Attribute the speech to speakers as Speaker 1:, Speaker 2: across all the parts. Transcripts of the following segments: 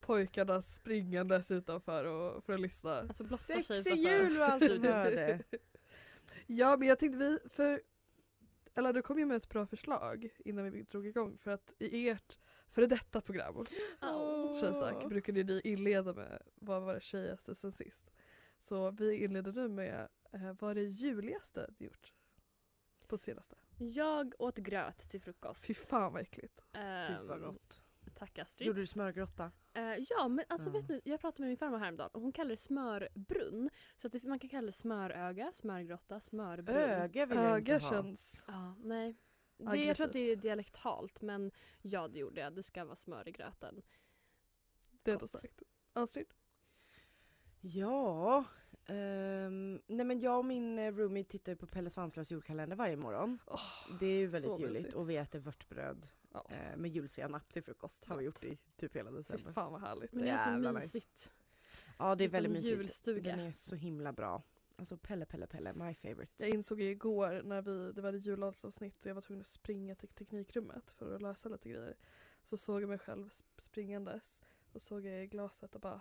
Speaker 1: pojkarna springandes utanför och, för att lyssna.
Speaker 2: Alltså blottar sig
Speaker 3: Sexig
Speaker 2: utanför.
Speaker 3: jul och allt vad
Speaker 2: studion.
Speaker 3: var det.
Speaker 1: Ja men jag tänkte vi, för eller du kom ju med ett bra förslag innan vi drog igång för att i ert före detta program
Speaker 2: Au.
Speaker 1: Shazak brukade ni inleda med vad var det tjejigaste sen sist. Så vi inleder nu med eh, vad är det juligaste du gjort? På senaste.
Speaker 2: Jag åt gröt till frukost.
Speaker 1: Fy fan vad äckligt.
Speaker 2: Ehm,
Speaker 3: Gud vad gott.
Speaker 2: Tack Astrid.
Speaker 3: Gjorde du smörgrotta?
Speaker 2: Eh, ja men alltså
Speaker 3: Ja.
Speaker 2: vet du, jag pratade med min farmor häromdagen och hon kallar det smörbrunn. Så att det, man kan kalla det smöröga, smörgrotta, smörbrunn.
Speaker 3: Öga vill jag inte
Speaker 1: Öga
Speaker 3: ha.
Speaker 1: känns...
Speaker 2: Ja, nej. Det, jag tror att det är
Speaker 1: Aggressivt.
Speaker 2: dialektalt men ja det gjorde jag. Det ska vara smör i gröten.
Speaker 1: Det är ändå
Speaker 2: Gott.
Speaker 1: starkt. Astrid?
Speaker 3: Ja. ehm, nej men jag och min eh, roomie tittar ju på Pelle Svanslös julkalender varje morgon. det är ju väldigt
Speaker 1: så
Speaker 3: juligt
Speaker 1: mysigt.
Speaker 3: och vi äter vörtbröd
Speaker 1: Ja.
Speaker 3: eh, med julsenap till frukost. Har vi gjort i typ hela
Speaker 1: Fy
Speaker 3: december.
Speaker 1: fan vad härligt.
Speaker 2: Men det är
Speaker 3: Jävla
Speaker 2: så
Speaker 3: nice.
Speaker 2: mysigt.
Speaker 3: Ja det är
Speaker 2: Liten
Speaker 3: väldigt mysigt.
Speaker 2: julstuga.
Speaker 3: Den är så himla bra. Alltså Pelle Pelle Pelle, my favorite.
Speaker 1: Jag insåg ju igår när vi, det var ett julavsnitt och jag var tvungen att springa till teknikrummet för att lösa lite grejer. Så såg jag mig själv sp- springandes och såg jag i glaset och bara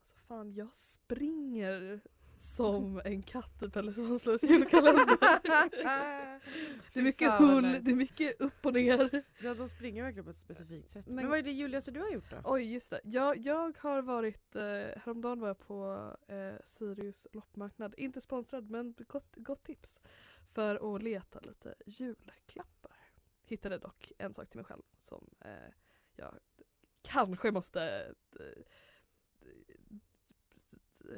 Speaker 1: Alltså fan jag springer som en katt i Pelle Svanslös julkalender. det är mycket
Speaker 3: fan, vad
Speaker 1: hull,
Speaker 3: nice.
Speaker 1: det är mycket upp och ner.
Speaker 3: Ja de springer verkligen på ett specifikt sätt. Men,
Speaker 2: Men-
Speaker 3: vad är det juligaste du har gjort då?
Speaker 1: Oj just det, jag, jag har varit, eh, häromdagen var jag på eh, Sirius loppmarknad, inte sponsrad men gott, gott tips. För att leta lite julklappar. Hittade dock en sak till mig själv som eh, jag kanske måste eh,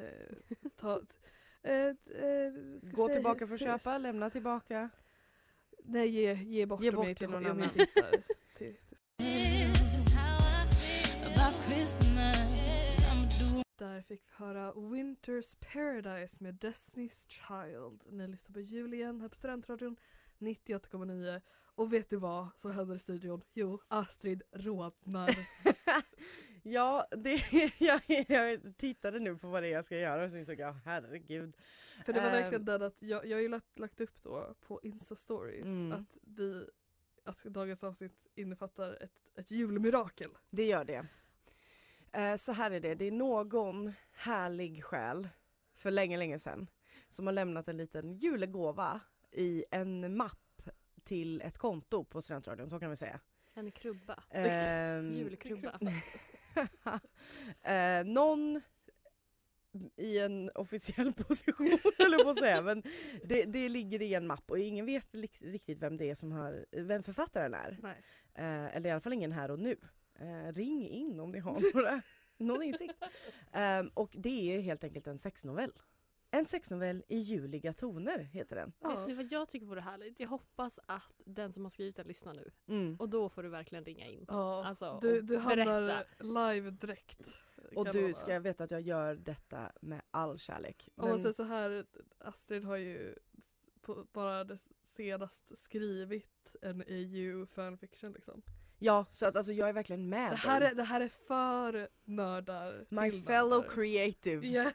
Speaker 1: eh, ta... eh, eh,
Speaker 3: Gå
Speaker 1: säg-
Speaker 3: tillbaka för att
Speaker 1: säg-
Speaker 3: köpa, lämna tillbaka.
Speaker 1: Nej ge, ge bort
Speaker 3: Ge
Speaker 1: om
Speaker 3: bort
Speaker 1: jag inte,
Speaker 3: till någon
Speaker 1: om jag
Speaker 3: annan.
Speaker 1: inte hittar. Till, till Där fick vi höra Winter's Paradise med Destiny's Child. Ni lyssnar på jul igen här på Studentradion 98,9. Och vet du vad som händer i studion? Jo, Astrid rodnar.
Speaker 3: Ja, det, jag, jag tittade nu på vad det är jag ska göra och så insåg jag herregud.
Speaker 1: För det var
Speaker 3: Ehm.
Speaker 1: verkligen den att jag, jag har ju lagt, lagt upp då på Insta-stories
Speaker 3: Mm.
Speaker 1: att vi att dagens avsnitt innefattar ett, ett julmirakel.
Speaker 3: Det gör det. Eh, Så här är det, det är någon härlig själ för länge, länge sedan som har lämnat en liten julegåva i en mapp till ett konto på Studentradion, så kan vi säga.
Speaker 2: En krubba.
Speaker 3: Ehm,
Speaker 2: Julkrubba.
Speaker 3: eh, någon i en officiell position eller på att säga men det, det ligger i en mapp och ingen vet lik- riktigt vem det är som har, vem författaren är.
Speaker 1: Nej.
Speaker 3: Eh, eller i alla fall ingen här och nu. Eh, ring in om ni har några, någon insikt. Eh, och det är helt enkelt en sexnovell. En sexnovell i juliga toner heter den.
Speaker 1: Ja.
Speaker 2: Vet ni vad jag tycker vore härligt? Jag hoppas att den som har skrivit den lyssnar nu.
Speaker 3: Mm.
Speaker 2: Och då får du verkligen ringa in.
Speaker 1: Ja,
Speaker 2: Alltså,
Speaker 1: du,
Speaker 2: och
Speaker 1: du hamnar
Speaker 2: berätta.
Speaker 1: live direkt.
Speaker 3: Och
Speaker 1: kan
Speaker 3: du
Speaker 1: jag
Speaker 3: ska veta att jag gör detta med all kärlek.
Speaker 1: Om man
Speaker 3: Men-
Speaker 1: säger så här, Astrid har ju på, bara det senast skrivit en EU fanfiction liksom.
Speaker 3: ja, så att alltså jag är verkligen med
Speaker 1: Det här
Speaker 3: dig.
Speaker 1: är, det här är för nördar.
Speaker 3: My
Speaker 1: till
Speaker 3: fellow
Speaker 1: nördar.
Speaker 3: creative.
Speaker 1: Ja.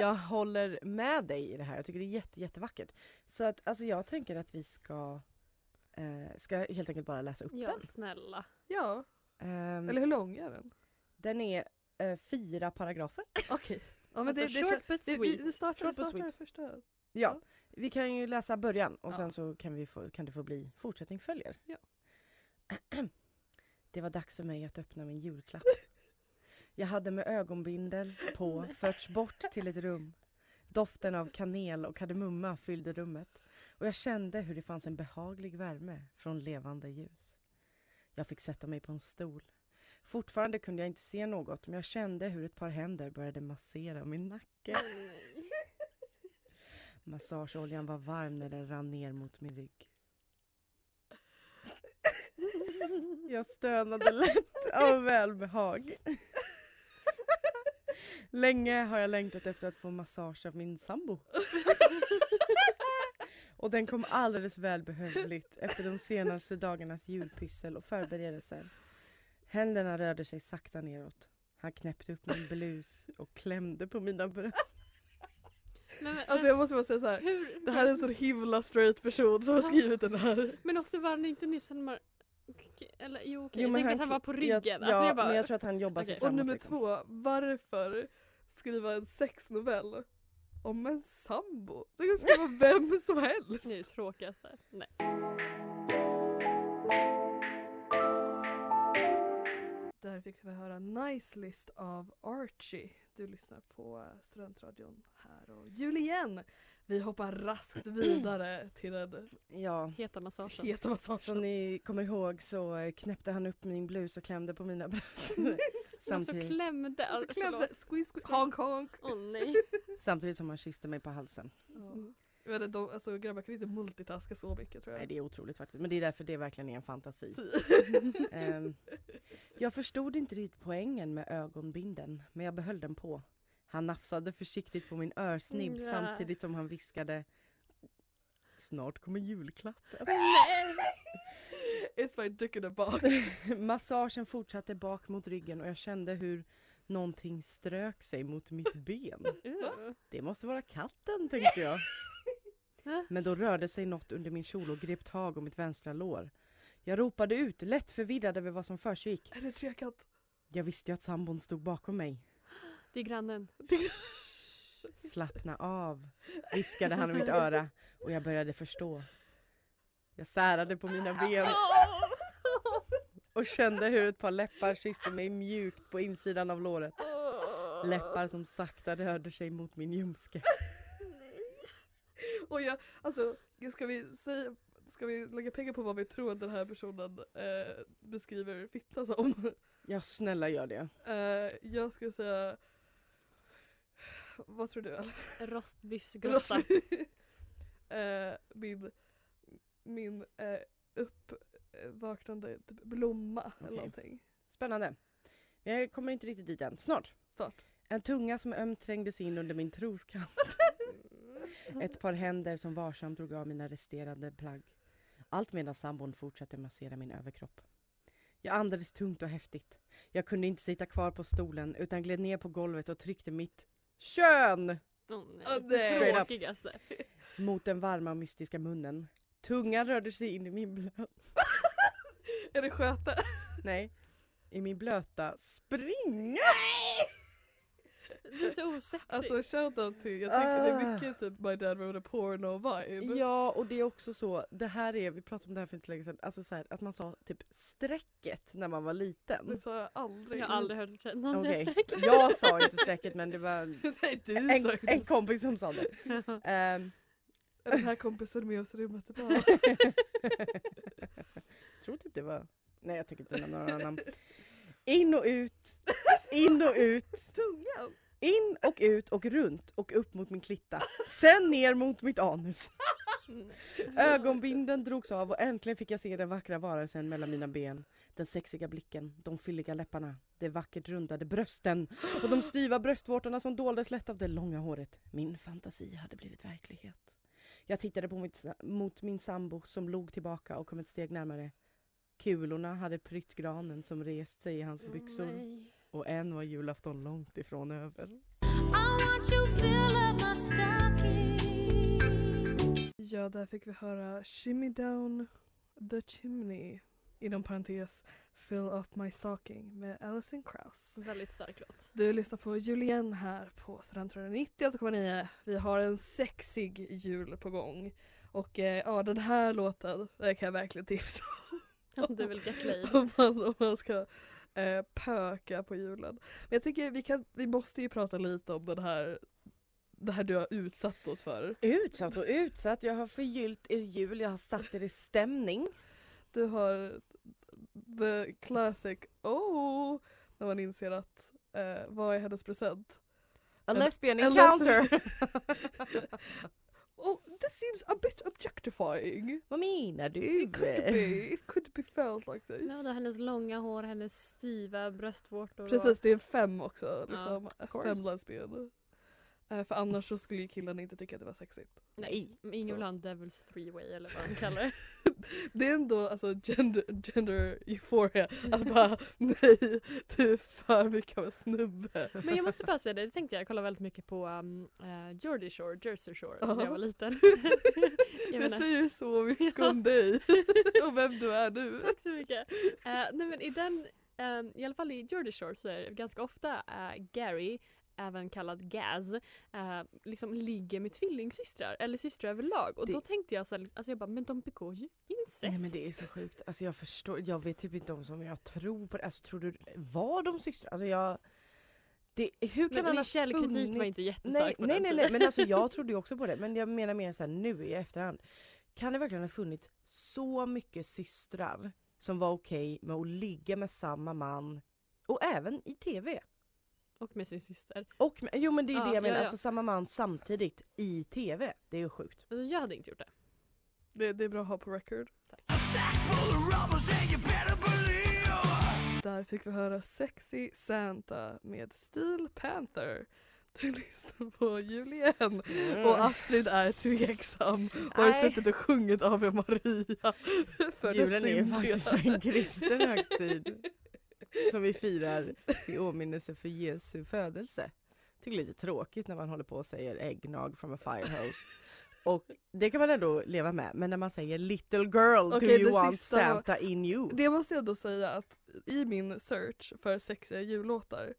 Speaker 3: Jag håller med dig i det här. Jag tycker det är jätte, jättevackert. Så att alltså jag tänker att vi ska, eh, ska helt enkelt bara läsa upp
Speaker 2: Ja,
Speaker 3: den.
Speaker 2: snälla.
Speaker 1: ja,
Speaker 3: Ehm,
Speaker 1: eller hur lång är den?
Speaker 3: Den är eh, fyra paragrafer.
Speaker 1: Okej. Ja, men
Speaker 2: Alltså,
Speaker 1: det, det,
Speaker 2: short but
Speaker 1: vi, vi, vi
Speaker 2: sweet.
Speaker 1: startar, vi
Speaker 3: Short but
Speaker 1: startar
Speaker 3: sweet.
Speaker 1: första. Ja.
Speaker 3: Ja. Vi kan ju läsa början och
Speaker 1: Ja.
Speaker 3: sen så kan, vi få, kan det få bli fortsättning följer.
Speaker 1: Ja.
Speaker 3: Det var dags för mig att öppna min julklapp. Jag hade med ögonbindel på förts bort till ett rum. Doften av kanel och kardemumma fyllde rummet och jag kände hur det fanns en behaglig värme från levande ljus. Jag fick sätta mig på en stol. Fortfarande kunde jag inte se något men jag kände hur ett par händer började massera min nacke. Massageoljan var varm när den rann ner mot min rygg. Jag stönade lätt av välbehag. Länge har jag längtat efter att få massage av min sambo. Och den kom alldeles välbehövligt efter de senaste dagarnas julpyssel och förberedelser. Händerna rörde sig sakta neråt. Han knäppte upp min blus och klämde på mina bröst.
Speaker 2: Men, men,
Speaker 1: Alltså jag måste bara säga så här.
Speaker 2: hur,
Speaker 1: Det här är en så himla straight person som har skrivit den här.
Speaker 2: Men också var han inte nyss en mar... Eller jo okej,
Speaker 3: Jo,
Speaker 2: jag
Speaker 3: men
Speaker 2: tänkte att
Speaker 3: han
Speaker 2: han
Speaker 3: kli-
Speaker 2: var på ryggen.
Speaker 3: Jag,
Speaker 2: alltså,
Speaker 3: ja,
Speaker 2: jag bara,
Speaker 3: men jag tror att han jobbar sig
Speaker 2: Okej.
Speaker 3: framåt.
Speaker 1: Och nummer
Speaker 3: liksom.
Speaker 1: två, varför skriva en sexnovell om en sambo? Det kan skriva vem som helst.
Speaker 2: Nu är det tråkigaste. Nej.
Speaker 1: Där fick vi höra Nice List av Archie. Du lyssnar på Studentradion här och jul igen. Vi hoppar raskt vidare till den
Speaker 3: Ja.
Speaker 2: Heta massagen.
Speaker 1: heta
Speaker 3: Som
Speaker 1: massagen.
Speaker 3: ni kommer ihåg så eh, knäppte han upp min blus och klämde på mina bröst.
Speaker 2: Och så
Speaker 3: samtidigt,
Speaker 2: klämde.
Speaker 1: Och så
Speaker 2: Alltså,
Speaker 1: klämde,
Speaker 2: förlåt.
Speaker 1: squeeze, squeeze, honk honk.
Speaker 2: Åh nej.
Speaker 3: samtidigt som han kysste mig på halsen.
Speaker 1: Ja. Jag vet inte, de, alltså, grabbar kan inte multitaska så mycket tror jag.
Speaker 3: Nej, det är otroligt faktiskt. Men det är därför det verkligen är en fantasi. Ehm, jag förstod inte riktigt poängen med ögonbinden, men jag behöll den på. Han nafsade försiktigt på min örsnibb
Speaker 2: Ja.
Speaker 3: samtidigt som han viskade Snart kommer julklappen.
Speaker 1: It's my dick in a box.
Speaker 3: Massagen fortsatte bak mot ryggen och jag kände hur någonting strök sig mot mitt ben.
Speaker 2: Ugh.
Speaker 3: Det måste vara katten tänkte jag.
Speaker 2: Va?
Speaker 3: Men då rörde sig något under min kjol och grep tag om mitt vänstra lår. Jag ropade ut, lätt förvirrad över vad som försiggick.
Speaker 1: Är det trekant?
Speaker 3: Jag visste ju att sambon stod bakom mig.
Speaker 2: Det är grannen.
Speaker 3: Slappna av, viskade han i mitt öra och jag började förstå. Jag särade på mina ben och kände hur ett par läppar kysste mig mjukt på insidan av låret. Läppar som sakta rörde sig mot min ljumske.
Speaker 1: Och jag, alltså, ska vi säga Ska vi lägga pengar på vad vi tror att den här personen eh, beskriver fitta som?
Speaker 3: Ja snälla gör det.
Speaker 1: Eh, jag skulle säga... Vad tror du? Ellen? Alltså,
Speaker 2: Rostbiffsgrotta.
Speaker 1: Eh, min min eh, uppvaknande typ blomma
Speaker 3: Okej.
Speaker 1: eller någonting.
Speaker 3: Spännande. Men jag kommer inte riktigt dit än. Snart.
Speaker 1: Snart.
Speaker 3: En tunga som ömt trängde sig in under min troskant.
Speaker 1: Mm.
Speaker 3: Ett par händer som varsamt drog av mina resterande plagg. Allt medan sambon fortsatte massera min överkropp. Jag andades tungt och häftigt. Jag kunde inte sitta kvar på stolen utan gled ner på golvet och tryckte mitt kön
Speaker 2: Åh
Speaker 1: Åh,
Speaker 2: nej.
Speaker 1: nej.
Speaker 2: Det tråkigaste.
Speaker 3: mot den varma och mystiska munnen. Tungan rörde sig in i min blöta,
Speaker 1: Är det sköte?
Speaker 3: nej, i min blöta springa!
Speaker 2: Det är så osexigt.
Speaker 1: Alltså shoutout till, jag tänker det är
Speaker 3: Ah.
Speaker 1: mycket typ My Dad Wrote a Porno-vibe.
Speaker 3: Ja och det är också så, det här är, vi pratade om det här för inte så länge sedan, alltså så här, att man sa typ strecket när man var
Speaker 1: Det
Speaker 3: liten.
Speaker 1: sa jag aldrig.
Speaker 2: jag har aldrig hört någon
Speaker 3: Okej,
Speaker 2: säga streck.
Speaker 3: jag sa inte strecket men det var
Speaker 1: Nej du
Speaker 3: en,
Speaker 1: sa ju
Speaker 3: en
Speaker 1: inte så.
Speaker 3: kompis som sa det. Ehm,
Speaker 1: Är den här kompisen med oss i rummet idag?
Speaker 3: jag tror typ det var, nej jag tänker inte nämna några namn. In och ut, in och ut,
Speaker 1: Tungan!
Speaker 3: in och ut och runt och upp mot min klitta. Sen ner mot mitt anus. Ögonbinden drogs av och äntligen fick jag se den vackra varelsen mellan mina ben. Den sexiga blicken, de fylliga läpparna, de vackert rundade brösten och de styva bröstvårtorna som doldes lätt av det långa håret. Min fantasi hade blivit verklighet. Jag tittade på mitt, mot min sambo som log tillbaka och kom ett steg närmare. Kulorna hade prytt granen som rest sig i hans byxor
Speaker 2: Nej. Mm.
Speaker 3: och än var julafton långt ifrån över.
Speaker 1: Ja, där fick vi höra Shimmy down the chimney. Inom parentes Fill up my stocking med Alison Krauss.
Speaker 2: Väldigt stark låt.
Speaker 1: Du lyssnar på Julien här på Studentradion 98,9. Vi har en sexig jul på gång. Och eh, ja, den här låten den kan jag verkligen tipsa
Speaker 2: Om du vill get laid.
Speaker 1: om man, om man ska eh, pöka på julen. Men jag tycker vi, kan, vi måste ju prata lite om den här, det här du har utsatt oss för.
Speaker 3: Utsatt och utsatt, jag har förgyllt er jul, jag har satt er i stämning.
Speaker 1: Du har the classic oh när man inser att eh, vad är hennes present?
Speaker 3: A
Speaker 1: En-
Speaker 3: lesbian
Speaker 1: en
Speaker 3: encounter!
Speaker 1: Oh, this seems a bit objectifying.
Speaker 3: Vad menar du?
Speaker 1: It could be, it could be felt like this.
Speaker 2: Ja, det är hennes långa hår, hennes styva bröstvårtor. och-
Speaker 1: Precis, det är fem också.
Speaker 2: Ja,
Speaker 1: Liksom.
Speaker 2: of course.
Speaker 1: fem lesbian. Eh, för annars så skulle ju killarna inte tycka att det var sexigt.
Speaker 2: Nej, men ingen
Speaker 1: Så.
Speaker 2: vill ha en devil's three way eller vad de kallar det.
Speaker 1: Det är ändå alltså gender, gender euphoria. Att bara nej, du är för mycket av en snubbe.
Speaker 2: Men jag måste bara säga det, det tänkte jag, jag kollade väldigt mycket på um, eh, Jersey Shore, Jersey Shore
Speaker 1: Ja.
Speaker 2: när jag var liten.
Speaker 1: Det
Speaker 2: menar-
Speaker 1: säger så mycket om dig och vem du är nu.
Speaker 2: Tack så mycket. Eh, nej men i den, ehm, i alla fall i Jersey Shore så är det ganska ofta eh, Gary, även kallad Gaz, eh, liksom ligger med tvillingsystrar eller systrar överlag. Och
Speaker 3: Det-
Speaker 2: då tänkte jag så här, alltså jag bara, men de begår ju incest.
Speaker 3: Nej men det är så sjukt. Alltså jag förstår, jag vet typ inte om som jag tror på det. Alltså tror du, var de systrar? Alltså jag... Det, hur kan
Speaker 2: Men min
Speaker 3: annars
Speaker 2: källkritik var
Speaker 3: funnits-
Speaker 2: inte jättestark
Speaker 3: Nej,
Speaker 2: på
Speaker 3: nej,
Speaker 2: den
Speaker 3: nej,
Speaker 2: tiden.
Speaker 3: nej, men alltså jag trodde ju också på det. Men jag menar mer så här nu i efterhand. Kan det verkligen ha funnits så mycket systrar som var okej med att ligga med samma man och även i tv?
Speaker 2: Och med sin syster.
Speaker 3: Och, med- jo men det är ju
Speaker 2: Ja,
Speaker 3: det jag menar,
Speaker 2: ja, ja.
Speaker 3: alltså samma man samtidigt i tv. Det är ju sjukt.
Speaker 2: Alltså jag hade inte gjort det.
Speaker 1: Det, det är bra att ha på record. Där fick vi höra Sexy Santa med Steel Panther. Du lyssnar på Julien och Astrid är tveksam och har
Speaker 3: Nej.
Speaker 1: suttit och sjungit av er Maria. För
Speaker 3: Julen är ju
Speaker 1: syndiga.
Speaker 3: faktiskt en kristen högtid som vi firar i åminnelse för Jesu födelse. Jag tycker det är lite tråkigt när man håller på och säger äggnag from a firehouse. Och det kan man ändå leva med, men när man säger little girl,
Speaker 1: Okej,
Speaker 3: do you
Speaker 1: det
Speaker 3: want
Speaker 1: sista var-
Speaker 3: Santa in you?
Speaker 1: Det måste jag då säga att i min search för sexiga jullåtar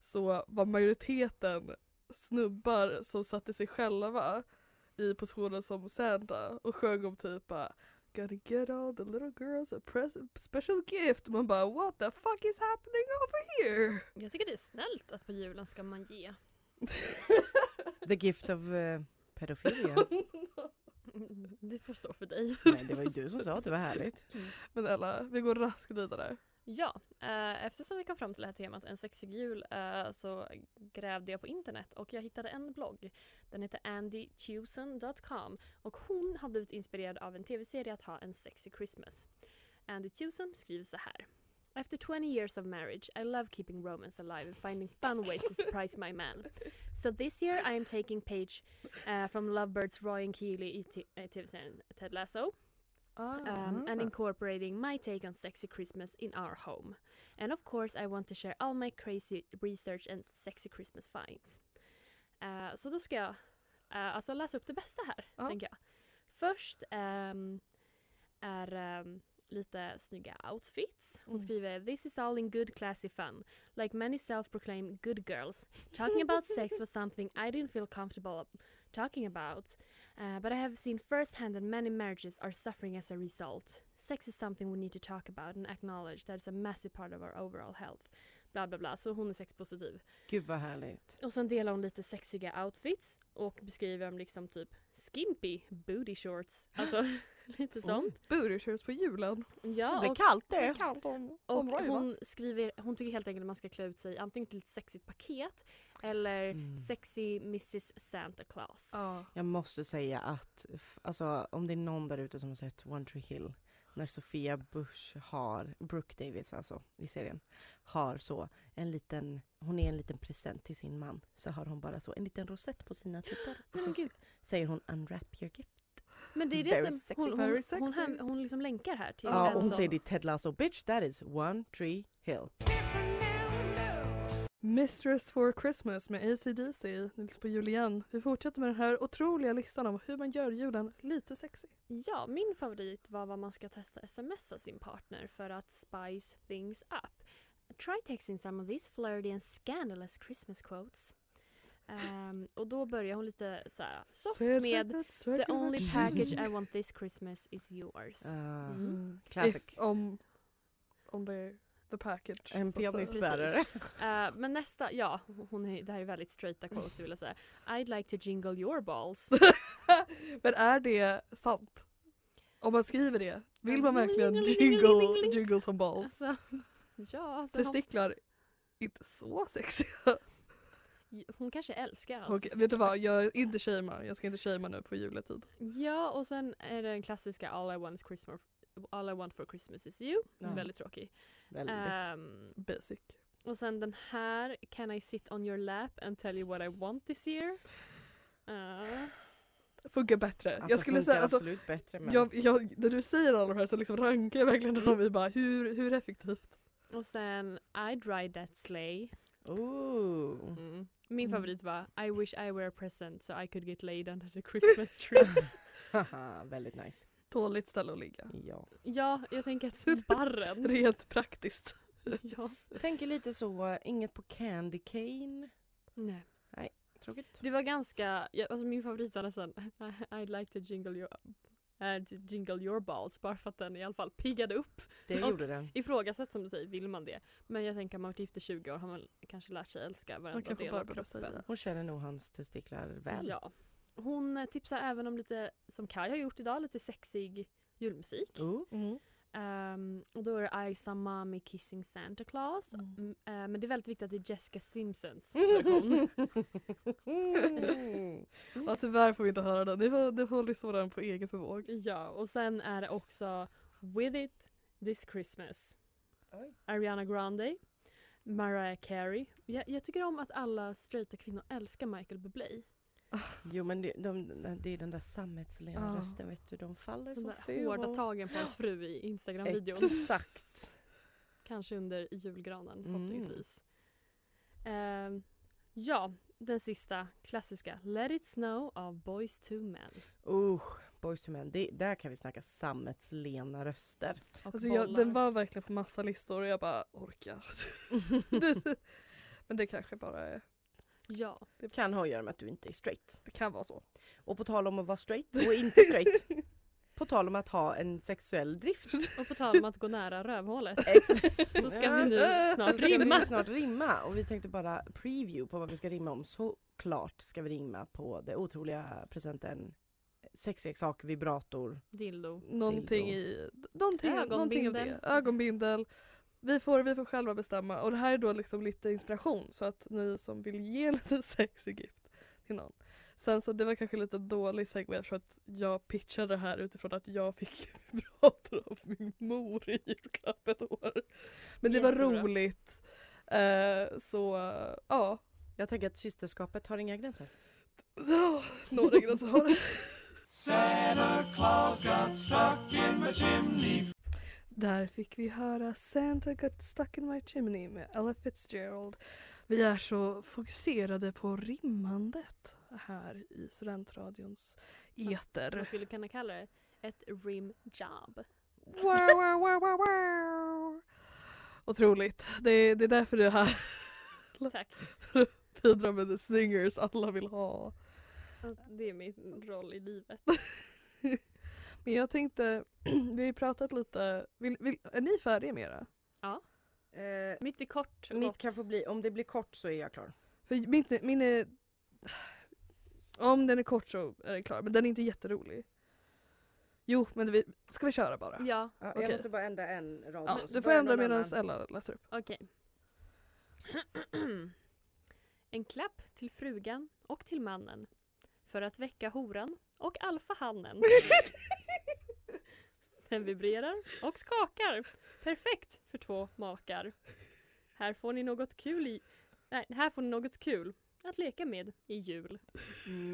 Speaker 1: så var majoriteten snubbar som satte sig själva i positionen som Santa och sjöng om typ bara Gonna get all the little girls a present, special gift. Man bara what the fuck is happening over here?
Speaker 2: Jag tycker det är snällt att på julen ska man ge.
Speaker 3: The gift of eh, pedofilia.
Speaker 2: Mm, Det får stå för dig.
Speaker 3: Nej, det var ju du som sa att det var härligt.
Speaker 1: Men Ella, vi går raskt vidare.
Speaker 2: Ja, eh, eftersom vi kom fram till det här temat en sexig jul eh, så grävde jag på internet och jag hittade en blogg. Den heter andytusen.com och hon har blivit inspirerad av en tv-serie att ha en sexy Christmas. Andy Tusen skriver så här. After 20 years of marriage, I love keeping romance alive and finding fun ways to surprise my man. So this year I am taking page eh, from Lovebirds Roy and Keely i t- eh, tv-serien Ted Lasso. um,
Speaker 1: Ehm,
Speaker 2: and incorporating my take on sexy Christmas in our home. And of course, I want to share all my crazy research and sexy Christmas finds. Eh, så då ska jag eh, alltså läsa upp det bästa här,
Speaker 1: Ja.
Speaker 2: tänker jag. Först ehm, är ehm, lite snygga outfits. Hon
Speaker 1: Mm.
Speaker 2: skriver “This is all in good classy fun. Like many self-proclaimed good girls, talking about sex was something I didn't feel comfortable talking about. Uh, but I have seen firsthand that many marriages are suffering as a result. Sex is something we need to talk about and acknowledge that it's a massive part of our overall health. Bla bla bla, så hon är sexpositiv.
Speaker 3: Gud vad härligt.
Speaker 2: Och sen delar hon lite sexiga outfits och beskriver dem liksom typ skimpy booty shorts. Alltså lite sånt.
Speaker 1: Booty shorts på julen.
Speaker 3: Det
Speaker 2: Ja,
Speaker 3: blir
Speaker 2: och,
Speaker 3: kallt
Speaker 1: Det är
Speaker 3: det.
Speaker 1: kallt om,
Speaker 2: och
Speaker 1: om Roy, va?
Speaker 2: hon skriver, hon tycker helt enkelt att man ska klä ut sig antingen till ett sexigt paket eller
Speaker 3: Mm.
Speaker 2: sexy mrs Santa Claus.
Speaker 1: Ja.
Speaker 3: Jag måste säga att f- alltså, om det är någon där ute som har sett One Tree Hill när Sofia Bush har, Brooke Davis alltså i serien, har så en liten, hon är en liten present till sin man. Så har hon bara så en liten rosett på sina tuttar. Och
Speaker 2: Nej,
Speaker 1: Ah,
Speaker 2: men
Speaker 3: så
Speaker 2: gud.
Speaker 3: säger hon unwrap your gift.
Speaker 2: Men det är
Speaker 3: Very
Speaker 2: det som
Speaker 3: sexy,
Speaker 2: hon, hon,
Speaker 1: very
Speaker 2: hon, hon,
Speaker 1: sexy.
Speaker 2: hem- hon liksom länkar här till alltså-
Speaker 3: Ja,
Speaker 2: en
Speaker 3: och hon
Speaker 1: alltså.
Speaker 2: sån-
Speaker 3: säger det i Ted Lasso, bitch that is One Tree Hill.
Speaker 1: Mistress for Christmas med ACDC, Nils på Julian. Vi fortsätter med den här otroliga listan om hur man gör julen lite sexig.
Speaker 2: Ja, min favorit var vad man ska testa smsa sin partner för att spice things up. Try texting some of these flirty and scandalous Christmas quotes. Ehm, och då börjar hon lite så här soft med The only package I want this Christmas is yours.
Speaker 3: Uh,
Speaker 2: Mm.
Speaker 3: Classic.
Speaker 1: If, om, om det är the package.
Speaker 3: En
Speaker 1: så att säga.
Speaker 3: penis.
Speaker 2: Precis. Eh, men nästa, ja, hon är, det här är väldigt straighta quotes vill jag säga. I'd like to jingle your balls.
Speaker 1: Men är det sant? Om man skriver det, vill man verkligen jingle,
Speaker 2: Jingle-jingle-jingle-jingle-jingle?
Speaker 1: jingle som balls?
Speaker 2: Alltså, ja, alltså, hon-
Speaker 1: Testiklar, inte så sexiga.
Speaker 2: Hon kanske älskar hans
Speaker 1: Okej, vet du vad, jag inte shamear. Jag ska inte shamea nu på juletid.
Speaker 2: Ja, och sen är det den klassiska All I want, is Christmas, all I want for Christmas is you.
Speaker 3: Ja.
Speaker 2: Väldigt tråkig.
Speaker 1: eh,
Speaker 3: Väldigt. Alltså,
Speaker 2: Ehm,
Speaker 1: Basic.
Speaker 2: och sen den här, Can I sit on your lap and tell you what I want this year? Ehm, Ja.
Speaker 1: Funkar bättre.
Speaker 3: Alltså,
Speaker 1: jag skulle
Speaker 3: funkar
Speaker 1: säga, alltså,
Speaker 3: absolut bättre men Mm.
Speaker 1: jag, jag, när du säger alla de här så liksom rankar jag verkligen dem i bara hur, hur effektivt.
Speaker 2: och sen I'd ride that sleigh.
Speaker 3: Ooh.
Speaker 2: Mm. Min
Speaker 1: Mm.
Speaker 2: favorit var I wish I were a present so I could get laid under the Christmas tree.
Speaker 3: Haha, väldigt nice.
Speaker 1: Tåligt ställe att ligga.
Speaker 3: Ja.
Speaker 2: ja, jag tänker att barren.
Speaker 1: Rent praktiskt.
Speaker 2: ja.
Speaker 3: Tänker lite så, eh, inget på Candy Cane.
Speaker 2: Nej.
Speaker 3: Tråkigt.
Speaker 2: Du var ganska, ja, alltså min favorit var nästan I'd like to jingle your, eh, to jingle your balls bara för att den i alla fall piggade upp.
Speaker 3: Det
Speaker 2: Och-
Speaker 3: gjorde den.
Speaker 2: Ifrågasätt som du säger, vill man det? Men jag tänker om man varit gift i 20 år har man kanske lärt sig älska
Speaker 1: Man
Speaker 2: varenda
Speaker 1: kan få
Speaker 2: del av
Speaker 1: Barbro
Speaker 2: kroppen.
Speaker 1: att säga.
Speaker 3: Hon känner nog hans testiklar väl.
Speaker 2: Ja. Hon eh, tipsar även om lite, som Kai har gjort idag, lite sexig julmusik.
Speaker 1: Oh.
Speaker 3: Ooh.
Speaker 2: Mm. Ehm, och då är det I saw mommy kissing Santa Claus.
Speaker 1: Mm.
Speaker 2: Mm, eh, men det är väldigt viktigt att det är Jessica Simpsons version.
Speaker 3: Mm.
Speaker 1: Ja, tyvärr får vi inte höra den. Ni får, ni får lyssna liksom på den på egen förvåg.
Speaker 2: ja, och sen är det också With it this Christmas.
Speaker 3: Oj.
Speaker 2: Ariana Grande, Mariah Carey. Jag, jag tycker om att alla straighta kvinnor älskar Michael Bublé.
Speaker 3: Jo men det, de, det är den där sammetslena
Speaker 1: Ja.
Speaker 3: rösten vet du, de faller
Speaker 2: De
Speaker 3: som
Speaker 2: Ah. där hårda tagen på hans fru i Instagram-videon.
Speaker 3: Exakt.
Speaker 2: Kanske under julgranen
Speaker 3: Mm.
Speaker 2: förhoppningsvis. Ehm, ja, den sista klassiska Let it snow av Boys to Men.
Speaker 3: Usch, Boys to Men, det, där kan vi snacka sammetslena röster.
Speaker 2: Och
Speaker 1: Alltså jag, den
Speaker 2: bollar.
Speaker 1: var verkligen på massa listor och jag bara orkar. Det- Men det kanske bara är,
Speaker 2: Ja,
Speaker 3: Kan ha att göra med att du inte är straight.
Speaker 1: det kan vara så.
Speaker 3: Och på tal om att vara straight och inte straight. på tal om att ha en sexuell drift.
Speaker 2: och på tal om att gå nära rövhålet så ska vi nu
Speaker 3: Så
Speaker 2: snart
Speaker 3: ska
Speaker 2: rimma.
Speaker 3: vi snart rimma och vi tänkte bara preview på vad vi ska rimma om. Såklart ska vi rimma på det otroliga presenten sexleksak, vibrator.
Speaker 2: Dildo.
Speaker 1: Någonting i, någonting, någonting av det.
Speaker 2: Ögonbindel.
Speaker 1: Ögonbindel. Vi får, vi får själva bestämma och det här är då liksom lite inspiration så att ni som vill ge lite sex i gift till någon. Sen så det var kanske lite dålig segway för att jag pitchade det här utifrån att jag fick vibrator av min mor i julklapp ett år. Men det var
Speaker 2: Jättebra.
Speaker 1: roligt. Eh, så ja,
Speaker 3: Jag tänker att systerskapet har inga gränser.
Speaker 1: oh, några gränser har det. Där fick vi höra Santa got stuck in my chimney med Ella Fitzgerald. Vi är så fokuserade på rimmandet här i studentradions eter.
Speaker 2: Man skulle kunna kalla det ett rim job.
Speaker 1: Wow, wow, wow, wow, wow. Otroligt. Det är, det är därför du är här.
Speaker 2: Tack.
Speaker 1: Bidra med the singers alla vill ha.
Speaker 2: Alltså, Det är min roll i livet.
Speaker 1: Men jag tänkte, vi har ju pratat lite, vill, vill, är ni färdiga med era?
Speaker 3: Eh,
Speaker 2: Mitt i kort och
Speaker 3: mitt
Speaker 2: gott.
Speaker 3: kan få bli, om det blir kort så är jag klar.
Speaker 1: För min, min är... Om den är kort så är den klar, men den är inte jätterolig. Jo, men vi, ska vi köra bara?
Speaker 2: Ja,
Speaker 3: Ja, Jag
Speaker 1: Okej.
Speaker 3: måste bara ändra en rad.
Speaker 1: Ja,
Speaker 3: och så
Speaker 1: du får
Speaker 3: börjar
Speaker 1: ändra
Speaker 3: någon
Speaker 1: medan
Speaker 3: annan.
Speaker 1: Ella läser upp.
Speaker 2: okej. en klapp till frugan och till mannen. För att väcka horan och alfahannen. Den vibrerar och skakar. Perfekt för två makar. Här får ni något kul i... Nej, här får ni något kul att leka med i jul.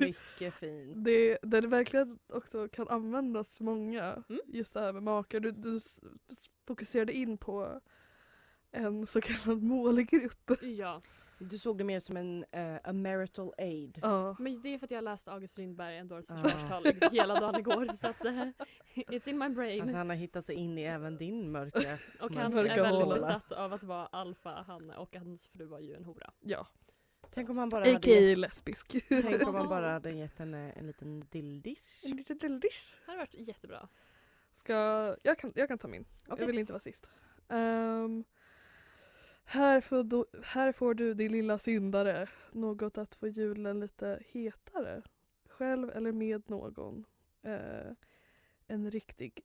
Speaker 3: Mycket fint.
Speaker 1: Det, den verkligen också kan användas för många,
Speaker 2: Mm.
Speaker 1: just det här med makar. Du, du s- s- fokuserade in på en så kallad målgrupp.
Speaker 2: Ja,
Speaker 3: Du såg det mer som en eh, a marital aid.
Speaker 1: Ja.
Speaker 2: men det är för att jag läste August Strindberg, en dåres
Speaker 3: Ah.
Speaker 2: försvarstal, i- hela dagen igår. Så att, eh, it's in my brain.
Speaker 3: Alltså han har hittat sig in i även din mörka.
Speaker 2: Och
Speaker 3: Men-
Speaker 2: han är
Speaker 1: Mörka
Speaker 2: väldigt
Speaker 1: hål.
Speaker 2: besatt av att vara alfa, Hanne och hans fru var ju en hora.
Speaker 1: ja.
Speaker 3: Tänk om han bara hade gett,
Speaker 1: A.k.a. lesbisk.
Speaker 3: tänk om han bara hade gett henne en liten dildish.
Speaker 1: En liten delis.
Speaker 2: Det hade varit jättebra.
Speaker 1: Ska, jag, kan, jag kan ta min.
Speaker 3: Okej.
Speaker 1: Jag vill inte vara sist. Ehm, här, får du, här får du din lilla syndare. Något att få julen lite hetare. Själv eller med någon. Eh, en riktig,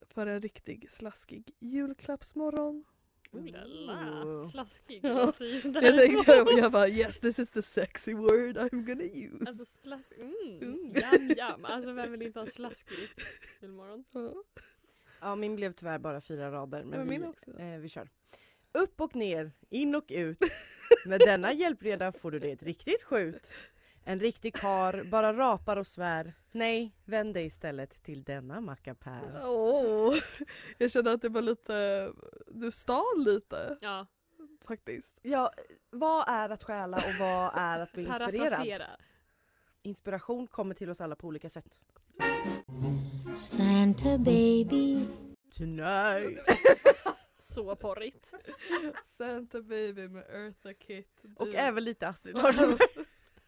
Speaker 1: för en riktig slaskig julklappsmorgon.
Speaker 2: Oh la la,
Speaker 4: Ooh.
Speaker 2: slaskig typ
Speaker 4: Ja,
Speaker 2: låter ju det
Speaker 4: Jag
Speaker 2: här.
Speaker 4: tänkte,
Speaker 1: oh,
Speaker 4: jag bara yes this is the sexy word I'm gonna use.
Speaker 2: Alltså slask, mm,
Speaker 4: Mm.
Speaker 2: jam jam. Alltså vem vill inte ha en slaskig julmorgon?
Speaker 4: Ja.
Speaker 3: Ja, min blev tyvärr bara fyra rader. Men,
Speaker 1: Men
Speaker 3: vi,
Speaker 1: min också.
Speaker 3: eh, vi kör. Upp och ner, in och ut. Med denna hjälpreda får du dig ett riktigt skjut. En riktig kar bara rapar och svär. Nej, vänd dig istället till denna mackapär.
Speaker 1: Åh, jag kände att det var lite, du stal lite
Speaker 2: Ja,
Speaker 1: faktiskt.
Speaker 4: Ja,
Speaker 3: Vad är att stjäla och vad är att bli inspirerad?
Speaker 2: parafrasera.
Speaker 3: Inspiration kommer till oss alla på olika sätt.
Speaker 5: Santa baby,
Speaker 3: Tonight!
Speaker 2: Så porrigt.
Speaker 1: Santa Baby med Eartha Kitt. Du,
Speaker 3: Och även lite Astrid Lindgren.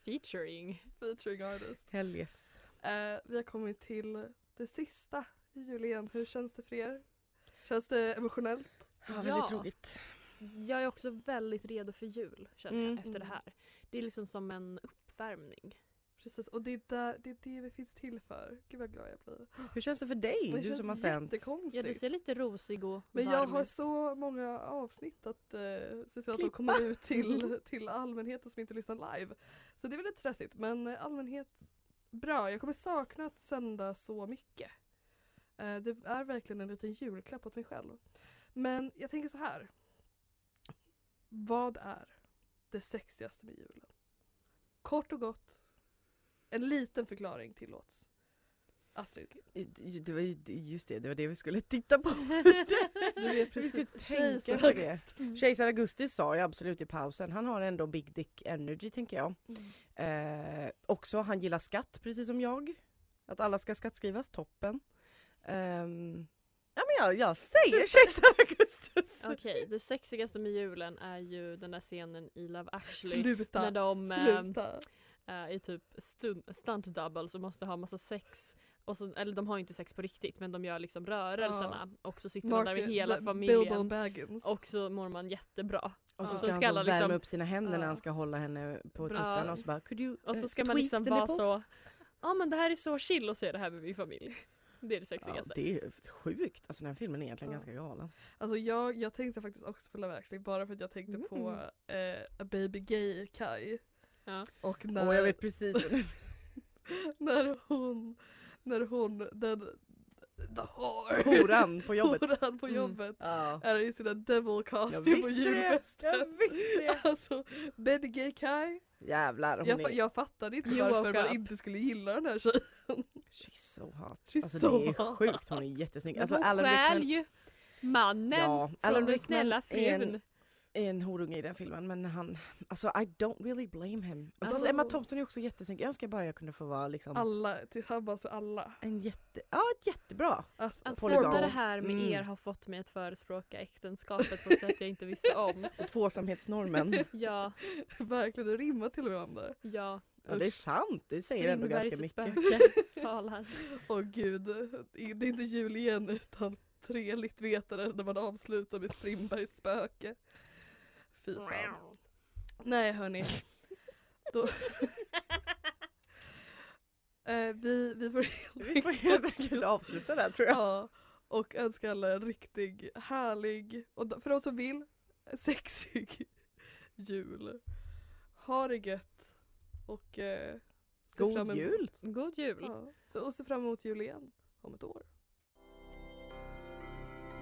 Speaker 2: Featuring.
Speaker 1: Featuring artist.
Speaker 3: Hell yes.
Speaker 1: Eh, vi har kommit till det sista i julen. Hur känns det för er? Känns det emotionellt?
Speaker 3: Ja, väldigt
Speaker 2: Ja.
Speaker 3: tråkigt.
Speaker 2: Jag är också väldigt redo för jul känner jag
Speaker 3: Mm.
Speaker 2: efter det här. Det är liksom som en uppvärmning.
Speaker 1: Precis, och det är, där, det är det vi finns till för. Gud vad glad jag blir.
Speaker 3: Hur känns det för dig?
Speaker 1: Det
Speaker 3: du som har
Speaker 1: känns
Speaker 3: sänt.
Speaker 1: jättekonstigt.
Speaker 2: Ja, du ser lite rosig och
Speaker 1: Men
Speaker 2: varm
Speaker 1: jag har
Speaker 2: ut.
Speaker 1: så många avsnitt att eh, se till att de kommer ut till, till allmänheten som inte lyssnar live. Så det är väl lite stressigt men eh, allmänhet, bra. Jag kommer sakna att sända så mycket. Eh, det är verkligen en liten julklapp åt mig själv. Men jag tänker så här. Vad är det sexigaste med julen? Kort och gott. En liten förklaring tillåts. Astrid.
Speaker 3: Det var ju just det, det var det vi skulle titta på.
Speaker 1: Du vet
Speaker 3: Vi ska tänka
Speaker 1: Kejsar-
Speaker 3: på det. Kejsar Augusti sa ju absolut i pausen, han har ändå big dick energy tänker jag. Eh, också, han gillar skatt precis som jag. Att alla ska skattskrivas, toppen. Ehm, ja men jag, jag säger Kejsar Augustus.
Speaker 2: Okej, det sexigaste med julen är ju den där scenen i Love actually.
Speaker 1: Sluta.
Speaker 2: När de eh,
Speaker 1: Sluta.
Speaker 2: eh, i typ stun- stunt doubles och måste ha massa sex. Och så, eller de har ju inte sex på riktigt men de gör liksom rörelserna och så sitter de där med hela
Speaker 1: Ba- Bilbo
Speaker 2: familjen
Speaker 1: Baggins.
Speaker 2: och så mår man jättebra.
Speaker 3: Och så
Speaker 2: Ja.
Speaker 3: ska
Speaker 2: Sen
Speaker 3: han
Speaker 2: ska
Speaker 3: så
Speaker 2: alla
Speaker 3: värma
Speaker 2: liksom-
Speaker 3: upp sina händer
Speaker 1: Ja.
Speaker 3: när han ska hålla henne på
Speaker 2: Bra.
Speaker 3: tussarna och så bara Could you,
Speaker 2: Och
Speaker 3: eh,
Speaker 2: så ska man
Speaker 3: tweak
Speaker 2: liksom
Speaker 3: the
Speaker 2: vara
Speaker 3: nipples?"
Speaker 2: så, ja men det här är så chill att se det här med min familj. Det är det
Speaker 3: Ja,
Speaker 2: sexigaste.
Speaker 3: det är sjukt, alltså den här filmen är egentligen
Speaker 1: Ja.
Speaker 3: ganska galen.
Speaker 1: Alltså jag, jag tänkte faktiskt också på Love actually bara för att jag tänkte på eh, A Baby Gay Kai.
Speaker 2: Ja.
Speaker 1: Och
Speaker 3: Mm. Åh
Speaker 1: när,
Speaker 3: jag vet precis.
Speaker 1: när hon, när hon, den, the whore.
Speaker 3: Horan på jobbet.
Speaker 1: Horan på
Speaker 2: Mm.
Speaker 1: jobbet.
Speaker 3: Ja.
Speaker 1: Är i sina devil
Speaker 3: Jag
Speaker 1: costume och
Speaker 3: visste det! Jag
Speaker 1: julfesten.
Speaker 3: visste det!
Speaker 1: Alltså Baby Gay Kai.
Speaker 3: Jävlar hon
Speaker 1: Jag, fa-
Speaker 3: är...
Speaker 1: jag fattade inte
Speaker 2: You
Speaker 1: varför
Speaker 2: woke
Speaker 1: man
Speaker 2: up.
Speaker 1: inte skulle gilla den här tjejen.
Speaker 3: She's so hot.
Speaker 1: She's
Speaker 3: alltså
Speaker 1: so
Speaker 3: det är
Speaker 1: hot.
Speaker 3: sjukt, hon är jättesnygg. Alltså,
Speaker 2: hon
Speaker 3: Alan
Speaker 2: stjäl
Speaker 3: Rickman-
Speaker 2: ju mannen
Speaker 3: ja,
Speaker 2: från
Speaker 3: Alan
Speaker 2: den
Speaker 3: Rickman
Speaker 2: snälla
Speaker 3: är
Speaker 2: frun.
Speaker 3: en, är en horunge i den filmen men han, alltså I don't really blame him. Fast
Speaker 2: Alltså-
Speaker 3: Emma Thompson är också jättesnygg, jag önskar bara jag kunde få vara liksom
Speaker 1: Alla, tillsammans med alla.
Speaker 3: en jätte, ja ett jättebra.
Speaker 1: Alltså,
Speaker 2: Att
Speaker 3: Polygon.
Speaker 2: podda det här med
Speaker 3: Mm.
Speaker 2: er har fått mig att förespråka äktenskapet på ett sätt jag inte visste om.
Speaker 3: Och tvåsamhetsnormen.
Speaker 2: Ja,
Speaker 1: Verkligen, det rimmar till och med om det.
Speaker 2: ja.
Speaker 3: ja det är sant, det säger ändå ganska
Speaker 2: Strindbergs
Speaker 3: mycket.
Speaker 2: spöke talar.
Speaker 1: Åh gud, det är inte jul igen utan tre littvetare när man avslutar med Strindbergs spöke. Fy fan. Nej hörni. Då... eh, vi, vi får
Speaker 3: Vi får helt enkelt avsluta där tror jag.
Speaker 1: ja, och önska alla en riktig härlig och d- för de som vill sexig jul. Ha det gött och eh, se
Speaker 3: God
Speaker 1: fram emot-
Speaker 3: jul.
Speaker 2: God jul.
Speaker 1: Ja, så, och se fram emot jul igen om ett år.